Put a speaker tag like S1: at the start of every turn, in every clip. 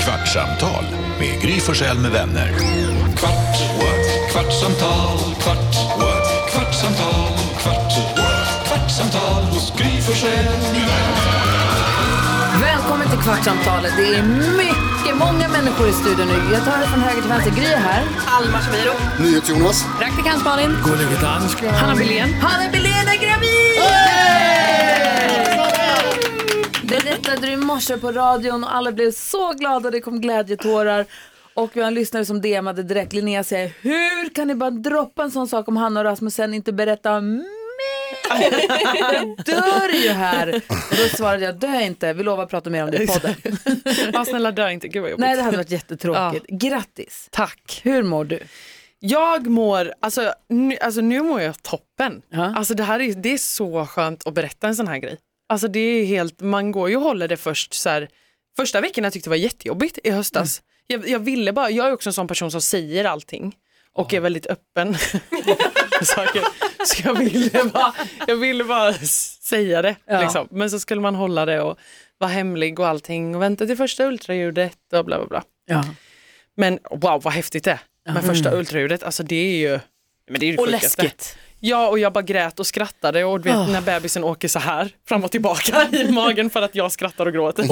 S1: Kvartsamtal med Gry Forssell med vänner. Kvart, what? kvartsamtal, kvart, what? kvartsamtal, kvart, what? kvartsamtal hos Gry Forssell med vänner.
S2: Välkommen till Kvartsamtalet. Det är mycket, många människor i studion nu. Jag tar det från höger till vänster. Gry är här.
S3: Alma Shapiro.
S4: NyhetsJonas.
S3: Praktikant Malin. Hanna Billén.
S2: Hanna Billén är gravid! Berättade du i morse på radion och alla blev så glada. Det kom glädjetårar. Och vi har en lyssnare som DMade direkt. Linnea säger, hur kan ni bara droppa en sån sak om Hanna och Rasmus sen inte berätta mer? Jag dör ju här. Och då svarade jag, dö inte. Vi lovar att prata mer om det i podden.
S5: Ja, snälla dö inte, gud vad jobbigt.
S2: Nej, det hade varit jättetråkigt. Grattis.
S5: Tack.
S2: Hur mår du?
S5: Jag mår, alltså nu, alltså, nu mår jag toppen.
S2: Ja.
S5: Alltså det här är, det är så skönt att berätta en sån här grej. Alltså det är helt, man går ju och håller det först så här, första veckorna tyckte jag var jättejobbigt i höstas.
S2: Mm.
S5: Jag, jag ville bara, jag är också en sån person som säger allting och är väldigt öppen. med saker. så jag ville bara, jag ville bara s- säga det.
S2: Ja.
S5: Liksom. Men så skulle man hålla det och vara hemlig och allting och vänta till första ultraljudet och bla bla bla.
S2: Ja.
S5: Men wow vad häftigt det är. Men första ultraljudet, alltså det är ju men det är ju det
S3: Mm. Och
S5: sjukaste.
S3: läskigt. Ah.
S5: Ja och jag bara grät och skrattade och du vet när bebisen åker så här fram och tillbaka i magen för att jag skrattar och gråter.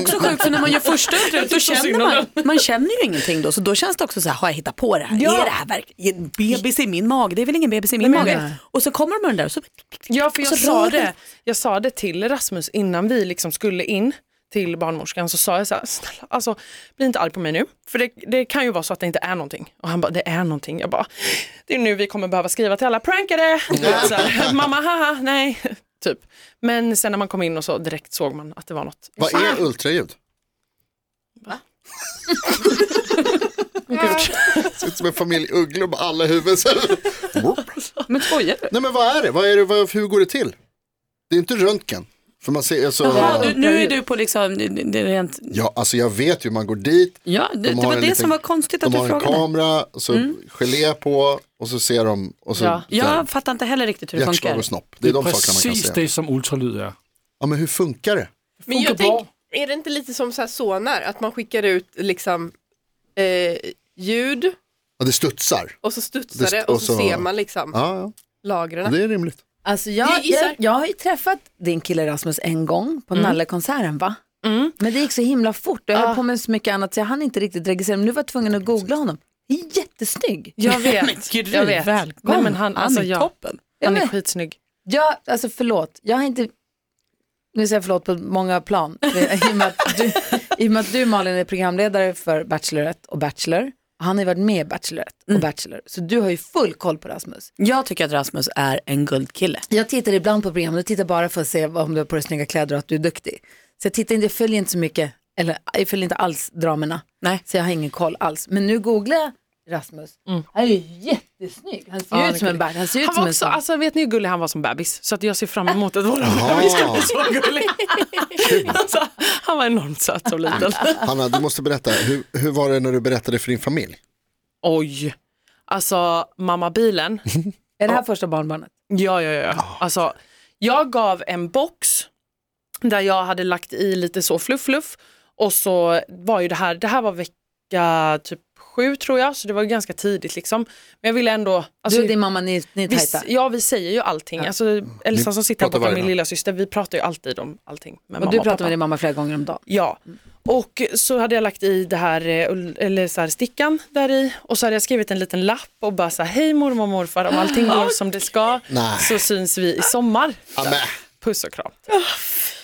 S3: Också sjukt för när man gör första utrymmet då
S5: tycker så
S3: känner
S5: synd om
S3: man, man känner ju ingenting då så då känns det också så här, har jag hittat på det här? Är det här verkligen bebis i min mage? Det är väl ingen bebis i min
S5: Nej, men
S3: mage? Och så kommer de med den där och så,
S5: Ja för
S3: Och
S5: jag
S3: så
S5: sa
S3: rör det.
S5: det, jag sa det till Rasmus innan vi liksom skulle in till barnmorskan så sa jag så här, snälla alltså bli inte arg på mig nu för det, det kan ju vara så att det inte är någonting och han bara det är någonting jag bara det är nu vi kommer behöva skriva till alla prankade Du vet, så här, mamma haha nej typ men sen när man kom in och så direkt såg man att det var något
S4: Vad är ultraljud?
S5: gult.
S4: Ser ut som en familj ugglor med alla huvuden. så här.
S3: men skojar du?
S4: Nej men vad är det? Vad är det? Vad, hur går det till? Det är inte röntgen. För man ser, alltså,
S3: du? Nu är du på liksom, det är rent,
S4: ja, alltså jag vet ju, man går dit,
S3: ja det, det
S4: De har
S3: var det
S4: en liten-
S3: som var konstigt att
S4: de
S3: du Mm.
S4: har en
S3: frågade.
S4: kamera, så gelé på och så ser de, och så
S5: Ja.
S4: så här,
S3: Jag fattar inte heller riktigt hur det
S4: hjärtslag
S3: funkar.
S4: och snopp. Det är de sakerna man kan
S6: Precis
S4: se.
S6: det som ultralyd är.
S4: Ja men hur funkar det?
S7: Men
S6: Funkar
S7: jag tänk,
S6: bra.
S7: är det inte lite som så här sonar, att man skickar ut liksom eh, ljud
S4: Ja, det studsar.
S7: och så studsar
S4: Det
S7: det,
S4: st-
S7: och
S4: och
S7: så,
S4: så-
S7: ser man liksom
S4: Ja, ja,
S7: lagren.
S4: det är rimligt.
S2: Alltså jag,
S7: Jag gissar.
S2: jag, jag har ju träffat din kille Rasmus en gång på Nallekonserten va?
S5: Mm.
S2: Men det gick så himla fort och jag höll
S5: Ah.
S2: på med så mycket annat så jag hann inte riktigt registrera mig. Nu var jag tvungen att googla honom. Det är Jättesnygg!
S5: jag vet
S3: Gud,
S5: jag vet
S3: välkommen.
S5: Nej, men han,
S3: Han
S5: alltså,
S3: är
S5: ja,
S3: toppen.
S5: han
S2: Ja,
S5: är
S2: men-
S5: skitsnygg
S2: Jag, alltså förlåt, jag har inte, nu säger jag förlåt på många plan. I och med att du, i och med att du Malin är programledare för Bachelorette och Bachelor, och han har ju varit med i Bachelorette
S7: Mm.
S2: och Bachelor, så du har ju full koll på Rasmus.
S3: Jag tycker att Rasmus är en guldkille.
S2: Jag tittar ibland på program, jag tittar bara för att se om du har på dig snygga kläder och att du är duktig. Så jag tittar inte, jag följer inte så mycket, eller jag följer inte alls dramerna.
S3: Nej.
S2: Så jag har ingen koll alls. Men nu googlar jag Rasmus. Han är ju jättesnygg. Han ser
S5: Mm. Ja,
S2: ut som en bär. Han ser ut
S5: Han
S2: som
S5: var
S2: en
S5: också,
S2: sån.
S5: alltså vet ni hur gullig han var som bebis? Så att jag ser fram emot att våra
S4: Jaha.
S5: bebis ska bli så gullig. Alltså, han var enormt söt som liten.
S4: Ah, Hanna, du måste berätta, hur, hur var det när du berättade för din familj?
S5: Oj, alltså mamma bilen.
S2: Är det här första barnbarnet?
S5: Ja, ja, ja. Alltså, jag gav en box där jag hade lagt i lite så fluff, fluff och så var ju det här, det här var vecka typ sju tror jag, så det var ju ganska tidigt liksom. Men jag ville ändå, alltså,
S2: du och din mamma, ni, ni är
S5: vi,
S2: tajta.
S5: ja vi säger ju allting. Alltså, Elsa
S4: Ni
S5: som sitter här
S4: pratar
S5: borta,
S4: varje
S5: min
S4: dag.
S5: lilla syster, vi pratar ju alltid om allting. Med
S2: och
S5: mamma
S2: du
S5: och
S2: pratar
S5: pappa.
S2: med din mamma flera gånger om dagen.
S5: Ja, och så hade jag lagt i det här, eh, ull- eller så här stickan där i och så hade jag skrivit en liten lapp och bara så här, hej mormor och morfar om allting går som det ska
S4: Nej.
S5: så syns vi i sommar.
S4: Ja, men,
S5: Puss och kram.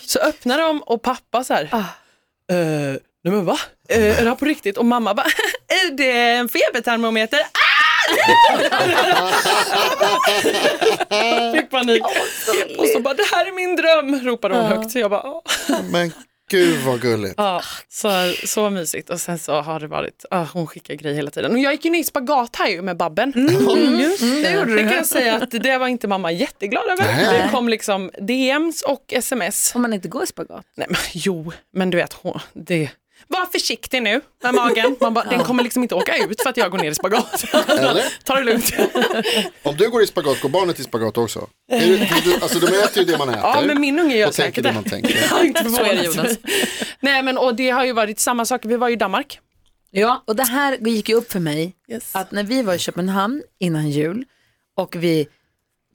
S5: Så öppnar de och pappa så här, eh, nej men va? Eh, är det här på riktigt? Och mamma bara, är det en febertermometer? Ah! Fick panik. Och så bara, det här är min dröm, ropade hon högt. Så jag bara, "Ah."
S4: men gud vad gulligt.
S5: Ja, så, så mysigt. Och sen så har det varit, ah, hon skickar grejer hela tiden. Och jag gick ju ner i spagat här ju med Babben. Mm, Just det. det kan jag säga att det var inte mamma jätteglad över.
S4: Nej.
S5: Det kom liksom DMs och sms.
S2: Om man inte går i spagat.
S5: Nej, men, jo, men du vet, hon, det... Var försiktig nu med magen. Man bara, den kommer liksom inte åka ut för att jag går ner i spagat.
S4: Eller?
S5: Ta det lugnt.
S4: Om du går i spagat, går barnet i spagat också? Är det, du, alltså de äter ju det man äter.
S5: Ja, men min unge gör
S4: och
S5: säkert
S4: tänker det
S5: det.
S4: man tänker.
S5: Jag är inte
S3: Så är det,
S5: förvånad.
S3: Jonas.
S5: Nej men och det har ju varit samma sak, vi var ju i Danmark
S2: Ja, och det här gick ju upp för mig
S7: Yes.
S2: att när vi var i Köpenhamn innan jul och vi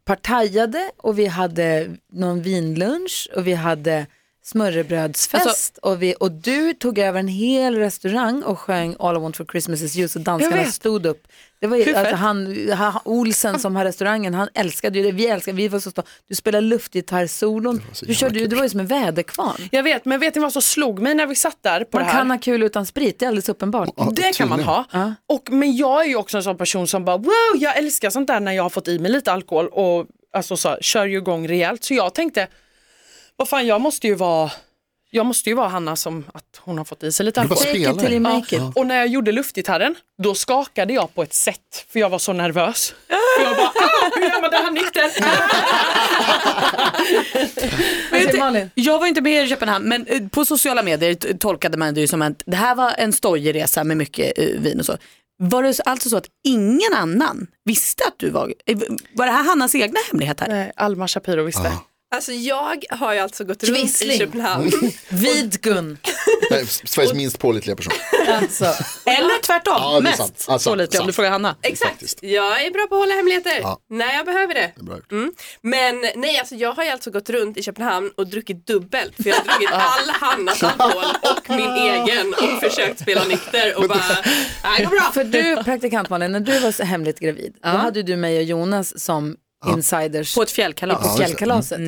S2: partajade och vi hade någon vinlunch och vi hade smörrebrödsfest
S5: Alltså-
S2: och, vi, och du tog över en hel restaurang och sjöng All I Want For Christmas Is You så danskarna
S5: Jag vet.
S2: stod upp. Det var ju,
S5: Hur
S2: alltså,
S5: fett?
S2: han, han, Olsen som har restaurangen, han älskade ju det, vi älskade, vi var så stolta. Du spelade luftgitarrsolon, du, körde ju- du var ju som en väderkvarn.
S5: Jag vet, men vet ni vad som slog mig när vi satt där på
S2: Man
S5: det här?
S2: kan ha kul utan sprit, det är alldeles uppenbart.
S5: Det kan man ha. Och, men jag är ju också en sån person som bara wow, jag älskar sånt där när jag har fått i mig lite alkohol och alltså, så, här, kör ju igång rejält. Så jag tänkte, vad fan jag måste ju vara, jag måste ju vara Hanna som att hon har fått i sig lite
S4: Du bara
S5: alkohol.
S2: Take it till you
S4: spelar.
S2: make it.
S5: Och när jag gjorde luftgitarren, då skakade jag på ett sätt för jag var så nervös. För jag bara, ah, hur gör man det här nykter?
S2: Vad säger
S3: Vet-
S2: Malin?
S3: Jag var inte med i Köpenhamn men eh, på sociala medier t- tolkade man det ju som att det här var en stojig resa med mycket eh, vin och så. Var det alltså så att ingen annan visste att du var, eh, var det här Hannas egna hemlighet här?
S5: Nej, Alma Shapiro visste.
S7: Alltså jag har ju alltså gått runt
S2: Quisling.
S7: i Köpenhamn.
S2: Vidgun.
S4: Nej, Sveriges minst pålitliga person.
S2: Alltså.
S3: Eller tvärtom,
S4: Ja, det är sant.
S3: mest
S4: Ja, sant,
S3: pålitlig om
S4: sant.
S3: du frågar Hanna.
S7: Exakt,
S4: Faktiskt.
S7: jag är bra på att hålla hemligheter
S4: Ja.
S7: när jag behöver det.
S4: är bra gjort.
S7: Mm. Men nej, alltså jag har ju alltså gått runt i Köpenhamn och druckit dubbelt för jag har druckit all Hannas alkohol och min egen och försökt spela nykter och bara, nej det går bra.
S2: För du, praktikant Malin, när du var så hemligt gravid, då hade du mig och Jonas som insiders
S3: På ett fjällkalas.
S2: på Mm.
S4: just det.
S2: fjällkalaset.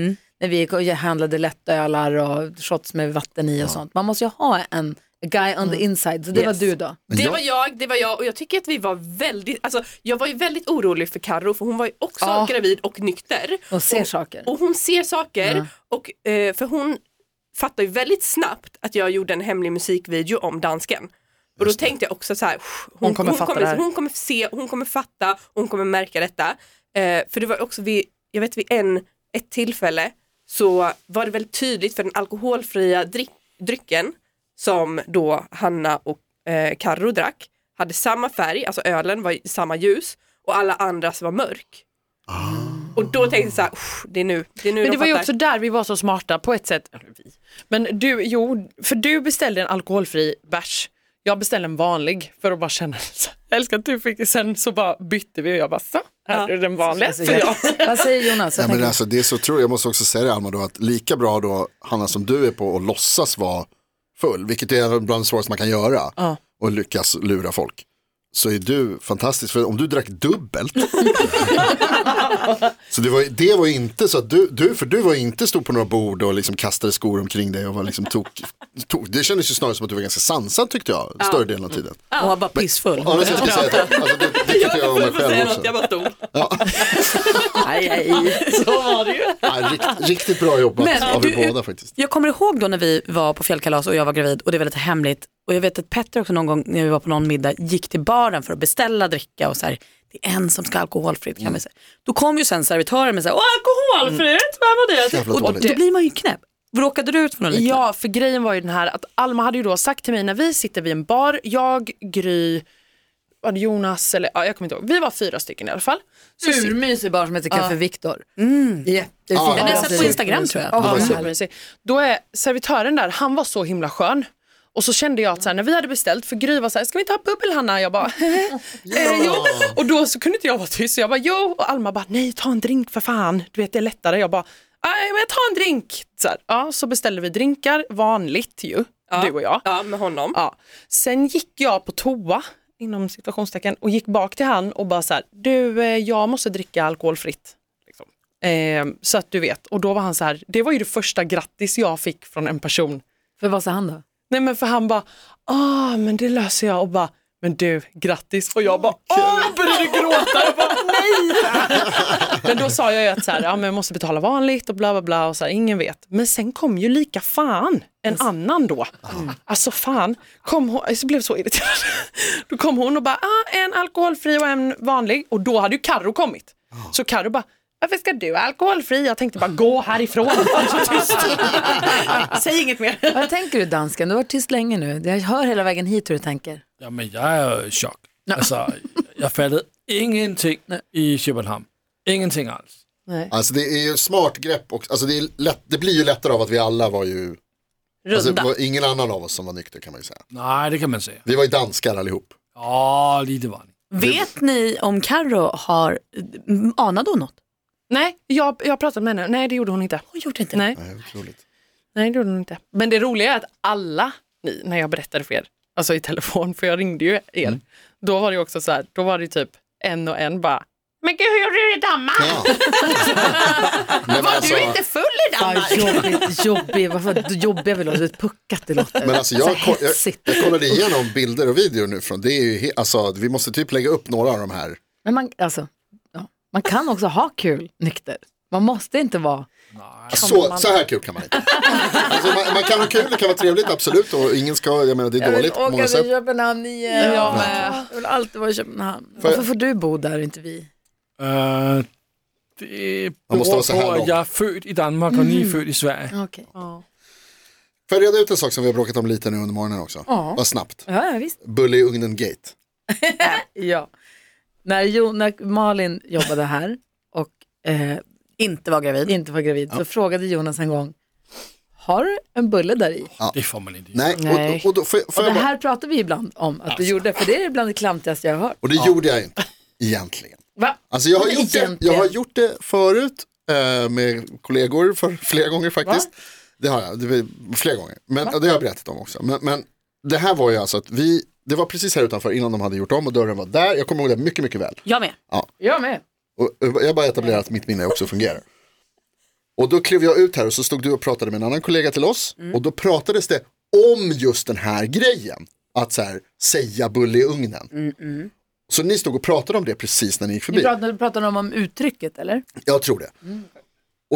S2: När vi gick och handlade lättölar och shots med vatten i och sånt. Man måste ju ha en guy on the inside, så det var du då.
S4: Men
S7: Det
S4: jag-
S7: var jag, det var jag och jag tycker att vi var väldigt, alltså jag var ju väldigt orolig för Karo för hon var ju också gravid och nykter.
S2: Och ser saker.
S7: Och hon ser saker, och, eh, för hon fattar ju väldigt snabbt att jag gjorde en hemlig musikvideo om dansken. Och då tänkte jag också så här, "Pff, hon,
S5: kommer fatta det här."
S7: hon kommer se, hon kommer fatta, och hon kommer märka detta. Eh, för det var också vid, jag vet vid en, ett tillfälle så var det väldigt tydligt för den alkoholfria dri- drycken som då Hanna och eh, Karro drack hade samma färg, alltså ölen var i samma ljus och alla andras var mörk. Och då tänkte jag så här, "Usch, det är nu, det är nu
S5: Men det
S7: de
S5: var ju
S7: fattar."
S5: också där vi var så smarta på ett sätt. Eller vi. Men du, jo, för du beställde en alkoholfri bärs. Jag beställde en vanlig för att bara känna, jag älskar att du fick det. Sen så bara bytte vi och jag bara, så, här är den vanliga.
S2: Alltså,
S5: För jag.
S2: jag- Vad säger Jonas? Jag
S4: Nej, men
S2: tänker-
S4: alltså, det är så otroligt, jag måste också säga det Alma då, att lika bra då Hanna som du är på att låtsas vara full, vilket är bland det svåraste man kan göra, och lyckas lura folk, så är du fantastisk, för om du drack dubbelt, så det var, det var inte så att du, du, för du var inte stod på några bord och liksom kastade skor omkring dig och var liksom tok, tok, det kändes ju snarare som att du var ganska sansad tyckte jag, större delen av tiden.
S3: Och var bara pissfull.
S4: Ja, det ska jag säga. Alltså, det, det tyckte jag om mig
S7: Jag får säga
S4: själv
S7: något,
S4: också.
S7: jag bara stod.
S3: Aj, aj.
S4: Ja, rikt, riktigt bra jobbat
S3: Men,
S4: av er
S3: du-
S4: båda faktiskt.
S3: Jag kommer ihåg då när vi var på fjällkalas och jag var gravid och det var lite hemligt. Och jag vet att Petter också någon gång när vi var på någon middag gick till baren för att beställa dricka och så här, det är en som ska ha alkoholfritt
S4: Mm.
S3: kan vi säga. Då kom ju sen servitören med så här, Åh, alkoholfritt, vad var det?
S4: Jävla
S3: Och
S4: dåligt.
S3: då blir man ju knäpp. Råkade du ut för något liknande?
S5: Ja, för grejen var ju den här att Alma hade ju då sagt till mig när vi sitter vid en bar, jag, Gry, var det Jonas eller ja, jag kommer inte ihåg, vi var fyra stycken i alla fall. Så sit-
S2: Urmysig barn som heter Café Viktor. Jättefin.
S4: Ja,
S3: Mm. Den är satt på Instagram tror jag.
S5: Ja,
S4: var så.
S5: supermysig. Då är servitören där, han var så himla skön. Och så kände jag att så här, när vi hade beställt, för Gry var så här, ska vi inte ha bubbel Hanna? Jag bara, eh, jo. Och då så kunde inte jag vara tyst, så jag bara, jo. Och Alma bara, nej ta en drink för fan, du vet det är lättare. Jag bara, nej men ta en drink. Så, här, ja, så beställde vi drinkar, vanligt ju, du och jag.
S7: Ja, med honom.
S5: Ja. Sen gick jag på toa, inom situationstecken och gick bak till han och bara så här, du eh, jag måste dricka alkoholfritt. Liksom. Eh, så att du vet, och då var han så här, det var ju det första grattis jag fick från en person.
S2: För vad sa han då?
S5: Nej men för han bara, ah men det löser jag och bara, men du grattis och jag bara, åh jag började gråta, jag bara nej. men då sa jag ju att så här, ja men jag måste betala vanligt och bla bla bla och så här, ingen vet. Men sen kom ju lika fan en annan då.
S3: Mm.
S5: Alltså fan, kom hon, alltså, jag blev så irriterad. då kom hon och bara, ah en alkoholfri och en vanlig och då hade ju Karo kommit.
S3: Ah.
S5: Så Karo bara, varför ska du ha alkoholfri? Jag tänkte bara gå härifrån. Så tyst. Säg inget mer.
S2: Vad tänker du dansken? Du har varit tyst länge nu. Jag hör hela vägen hit hur du tänker.
S6: Jamen, jeg er jo i chok. Altså, jeg fattede ingenting i København. Ingenting alls.
S4: Alltså det är ju smart grepp och alltså det, är lätt, det blir ju lättare av att vi alla var ju Alltså,
S3: runda.
S4: det var ingen annan av oss som var nykter kan man ju säga.
S6: Nej, det kan man säga.
S4: Vi var ju danskar allihop.
S6: Ja, lite var ni.
S3: Vet ni om Karo har, m- anade hon något?
S5: Nej, jag, jag pratade med henne. Nej, det gjorde hon inte.
S3: Hon gjorde inte
S5: Nej.
S4: Nej, otroligt.
S5: Nej, det gjorde hon inte. Men det roliga är att alla ni, när jag berättade för er, alltså i telefon, för jag ringde ju er, då var det ju också så här, då var det ju typ en och en bara, men gud hur gjorde du i Danmark?
S4: Ja. Nej, men, alltså,
S3: full i
S2: Vad jobbigt, jobbigt. Varför vad jobbiga vi låter? Det är Puckat det låter.
S4: men alltså, jag,
S2: så
S4: ko- jag,
S2: hetsigt.
S4: jag kollade igenom bilder och videor nu från, det är ju, he- alltså, vi måste typ lägga upp några av de här.
S2: Men man, alltså, ja. man kan också ha kul nykter. Man måste inte vara...
S4: Alltså, Så, så här kul kan man inte. Alltså, man, man kan ha kul, det kan vara trevligt, absolut. Och ingen ska, jag menar det är dåligt på många sätt.
S2: Köpenhamn igen.
S5: Jag med.
S2: Jag vill alltid vara i Köpenhamn.
S4: Får jag-
S2: Varför får du bo där och inte vi?
S6: Uh, det
S4: Man måste vara så här
S6: beror på,
S4: lång.
S6: att jag är född i Danmark och ni är född i Sverige.
S2: Okej.
S4: Får jag reda ut en sak som vi har bråkat om lite nu under morgonen också?
S2: Ja.
S4: Vad snabbt.
S2: Ja, ja, visst.
S4: Bulle i ugnen gate.
S2: Ja. När, jo, när Malin jobbade här och eh,
S3: Inte var gravid.
S2: inte var gravid så frågade Jonas en gång, har du en bulle där i?
S6: Det får man inte göra.
S4: Nej,
S2: Nej.
S4: Och, och, då, får, jag-
S2: Och
S4: får
S2: det
S4: jag bara, Alltså.
S2: här pratar vi ibland om att du gjorde, för det är bland det klantigaste jag har hört.
S4: och det gjorde jag inte, egentligen.
S2: Va?
S4: Alltså jag har,
S2: Men
S4: gjort det, jag
S2: egentligen.
S4: har gjort det förut eh, med kollegor för flera gånger faktiskt. Det har jag, det var flera gånger. Men och det har jag berättat om också. Men, men det här var ju alltså att vi, det var precis här utanför innan de hade gjort om och dörren var där. Jag kommer ihåg det mycket, mycket väl.
S3: Jag med.
S2: Jag med.
S4: Och eh, jag bara etablerar att mitt minne också fungerar. Och då klev jag ut här och så stod du och pratade med en annan kollega till oss.
S2: Mm.
S4: Och då pratades det om just den här grejen. Att så här, säga bulle i ugnen. Så ni stod och pratade om det precis när ni gick förbi.
S2: Mm, Ni pratade, Mm. pratade om, om uttrycket eller?
S4: Jag tror det.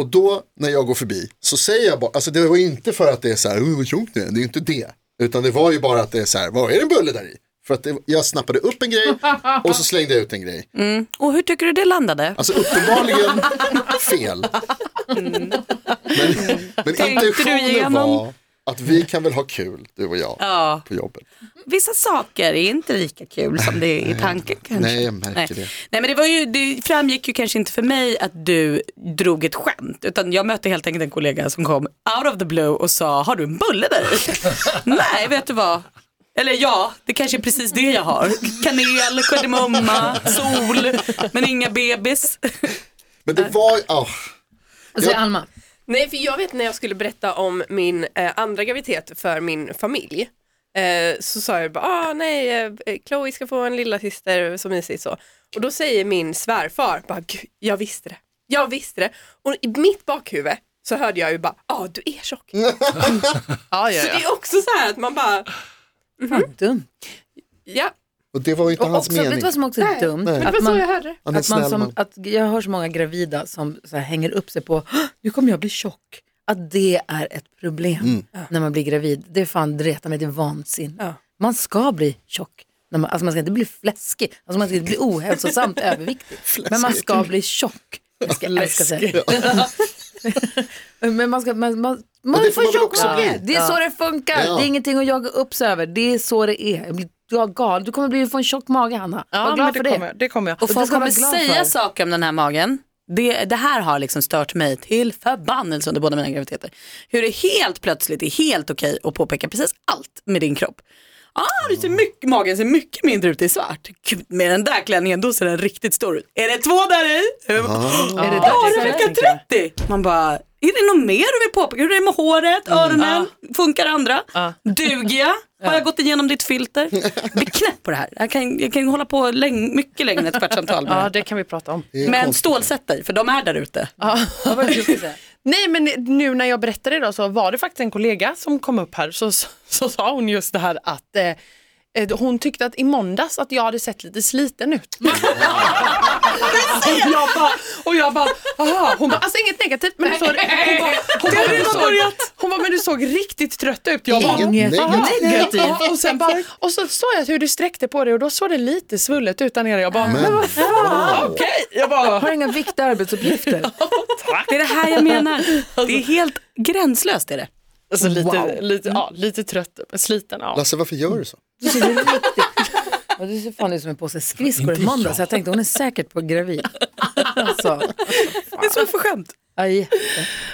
S4: Och då när jag går förbi så säger jag bara, alltså det var inte för att det är så här, "Oj, vad tjockt det är, det är ju inte det. Utan det var ju bara att det är så här, vad är det en bulle där i? För att det, jag snappade upp en grej och så slängde jag ut en grej.
S3: Och hur tycker du det landade?
S4: Alltså uppenbarligen fel. Men, men
S3: Tänkte du
S4: intentionen
S3: igenom?
S4: var att vi kan väl ha kul, du och jag,
S3: Ja.
S4: på jobbet.
S3: Vissa saker är inte lika kul som det är i tanken kanske.
S4: Nej, jag märker
S3: Nej.
S4: det.
S3: Nej, men det, var ju, det framgick ju kanske inte för mig att du drog ett skämt, utan jag mötte helt enkelt en kollega som kom out of the blue och sa, har du en bulle där i?" Nej, vet du vad? Eller ja, det kanske är precis det jag har. Kanel, kardemumma, sol, men inga bebis.
S4: Men det var, ah,
S2: Alltså
S4: Ja.
S2: Alma,
S7: Nej, för jag vet när jag skulle berätta om min eh, andra graviditet för min familj. Eh, så sa jag bara, ah, nej, eh, Chloe ska få en lilla syster så mysigt så. Och då säger min svärfar, bara, Gud, jag visste det, jag visste det. Och i mitt bakhuvud så hörde jag ju bara, ja ah, du är tjock.
S5: Ja,
S7: Så det är också så här att man bara,
S2: fan dumt.
S7: ja,
S4: och det var ju inte
S2: Och
S4: hans
S2: också, vet
S4: mening.
S2: du vad som också är
S7: Nej,
S2: dumt?
S4: Nej.
S7: men det
S2: Att
S7: var så
S2: man,
S7: jag hörde det.
S4: Han är
S2: att man
S4: snäll
S2: som,
S4: man.
S2: att jag hör så många gravida som så här, hänger upp sig på, "Hå, nu kommer jag bli tjock. Att det är ett problem när man blir gravid. Det är fan det retar mig till vansinne.
S7: Ja.
S2: Man ska bli tjock. När man, alltså man ska inte bli fläskig, alltså man ska inte bli ohälsosamt överviktig. Men man ska bli tjock. Jag ska älska sig. Men man ska, man, man, man
S4: det får
S2: får
S4: man väl
S2: tjock
S4: också
S2: också
S4: bli.
S2: Det är så det funkar.
S4: Ja.
S2: Det är ingenting att jaga upp sig över. Det är så det är. Jag blir, du har gal. Du kommer bli, få en tjock mage Hanna. Var
S5: Ja, men
S2: glad
S5: det,
S2: för det.
S5: kommer, det kommer jag.
S3: Och
S2: det
S3: folk
S2: ska man
S3: kommer
S2: vara glad
S3: säga
S2: för.
S3: saker om den här magen. Det, det här har liksom stört mig till förbannelse under båda mina graviditeter. Hur det helt plötsligt är helt okej att påpeka precis allt med din kropp. Ah, det ser mycket, magen ser mycket mindre ut i svart. Gud, med den där klänningen då ser den riktigt stor ut. Är det två där i?
S2: Är det
S3: Bara
S2: dags?
S3: vecka 30! Man bara, är det något mer du vill påpeka? Hur är det med håret, öronen, funkar andra? Duger jag? Har jag gått igenom ditt filter? Bli knäpp på det här. Jag kan, jag kan hålla på läng- mycket längre än ett kvartssamtal med det här.
S5: Ja, det kan vi prata om.
S4: Det är
S3: Men
S4: konstigt.
S3: stålsätt dig, för de är där ute.
S2: Vad var det du skulle säga?
S5: Nej, men nu när jag berättade idag så var det faktiskt en kollega som kom upp här så, så, så sa hon just det här att eh, eh, hon tyckte att i måndags att jag hade sett lite sliten ut. och jag bara, och jag bara, aha. Hon bara, alltså inget negativt men du såg, hon bara, hon bara, du såg, hon bara, men du såg riktigt trött ut. Jag bara,
S4: Inget
S5: aha.
S4: negativt.
S5: Ja, Och sen bara, och så såg jag hur du sträckte på dig och då såg det lite svullet ut där nere. Jag bara, men vad fan, okej. Jag bara,
S2: Har du inga viktiga arbetsuppgifter?
S3: Det är det här jag menar. Det är helt gränslöst. Är det.
S5: alltså lite,
S2: Wow.
S5: lite, ja, lite trött, sliten. Ja.
S4: Lasse, varför gör du så?
S2: Du ser ju riktigt... Ja, du ser fan ut som en påse skridskor i
S6: Inte
S2: måndag
S6: jag.
S2: så jag tänkte hon är säkert på gravid. Alltså,
S3: Det är så för skämt.
S2: aj.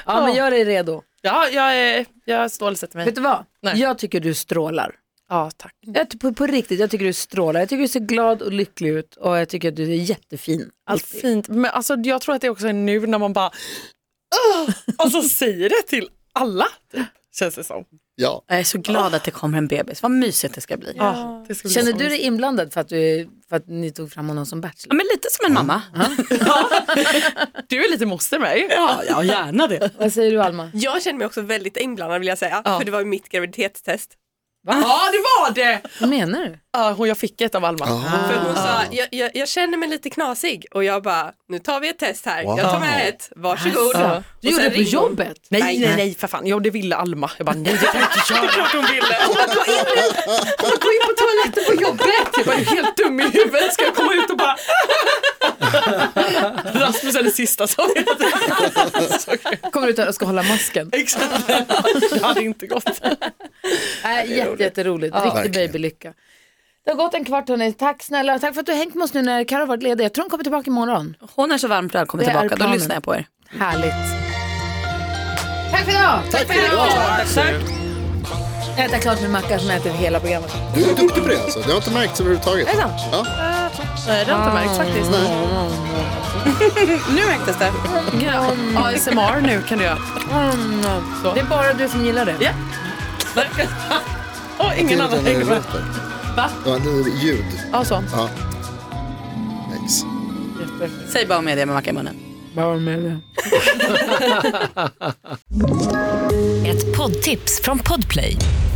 S2: Ja men gör dig redo.
S5: Ja, jag, är- jag stålsätter mig.
S2: Vet du vad?
S5: Nej.
S2: Jag tycker du strålar.
S5: Ja, tack.
S2: Jag, ty- på, på riktigt, jag tycker du strålar. Jag tycker du ser glad och lycklig ut och jag tycker att du är jättefin.
S5: Allt
S2: Alltid.
S5: fint. Men alltså, jag tror att det också är nu när man bara "Åh!" och så säger det till alla, typ, känns det som.
S4: Ja,
S3: Jag är så glad att det kommer en bebis. Vad mysigt det ska bli. Ja.
S5: Ja, det liksom- ska bli
S2: Känner
S5: så
S2: du dig inblandad för att, du, för att ni tog fram honom som bachelor?
S3: men lite som en mamma.
S5: mysigt. Du är lite moster med ju.
S3: Ja, ja gärna det.
S2: Vad säger du Alma?
S7: Jag känner mig också väldigt inblandad vill jag säga, för det var ju mitt graviditetstest.
S5: Ja, det var det!
S2: Vad menar du?
S5: Ja, hon jag fick ett av Alma.
S7: För
S2: Ah.
S7: hon sa, jag, jag, jag känner mig lite knasig och jag bara, nu tar vi ett test här, jag tar med ett, varsågod.
S2: Alltså, du
S7: Och
S2: gjorde
S7: sen
S2: det på
S7: ringde hon.
S2: jobbet?
S5: Nej, nej, nej, för fan. Jo, det ville Alma. Jag bara, nej, det kan jag inte köra. klart hon ville.
S2: Gå in på toaletten på jobbet!
S5: Jag bara, är du helt dum i huvudet? Ska jag komma ut och bara... Rasmus är det sista som vet.
S2: Kommer ut här och ska hålla masken.
S5: Exakt. Det hade inte gått.
S2: Äh, jätte, jätteroligt, riktig
S4: Verkligen.
S2: babylycka. Det har gått en kvart hörni, tack snälla och tack för att du har hängt med oss nu när Karo har varit ledig. Jag tror hon kommer tillbaka imorgon.
S3: Hon är så varmt välkommen
S2: Det är
S3: tillbaka. Då
S2: planen.
S3: lyssnar jag på er.
S2: Härligt. Tack för idag! Tack för idag! Jag äter klart min macka som jag äter hela programmet.
S4: du är duktig på det alltså. Det har inte märkts överhuvudtaget.
S2: Är det sant?
S4: Ja.
S5: Nej, det har inte märkt faktiskt.
S7: Nu märktes det.
S5: ASMR nu kan du göra.
S2: Det är bara du som gillar det.
S5: Åh, ingen annan
S4: Ljuden är
S5: hänger med.
S4: låter. Ja, det är ljud.
S5: Ja, så.
S4: Ex.
S3: Säg bara media med macka i munnen.
S2: Bara med det.
S8: Ett poddtips från Podplay.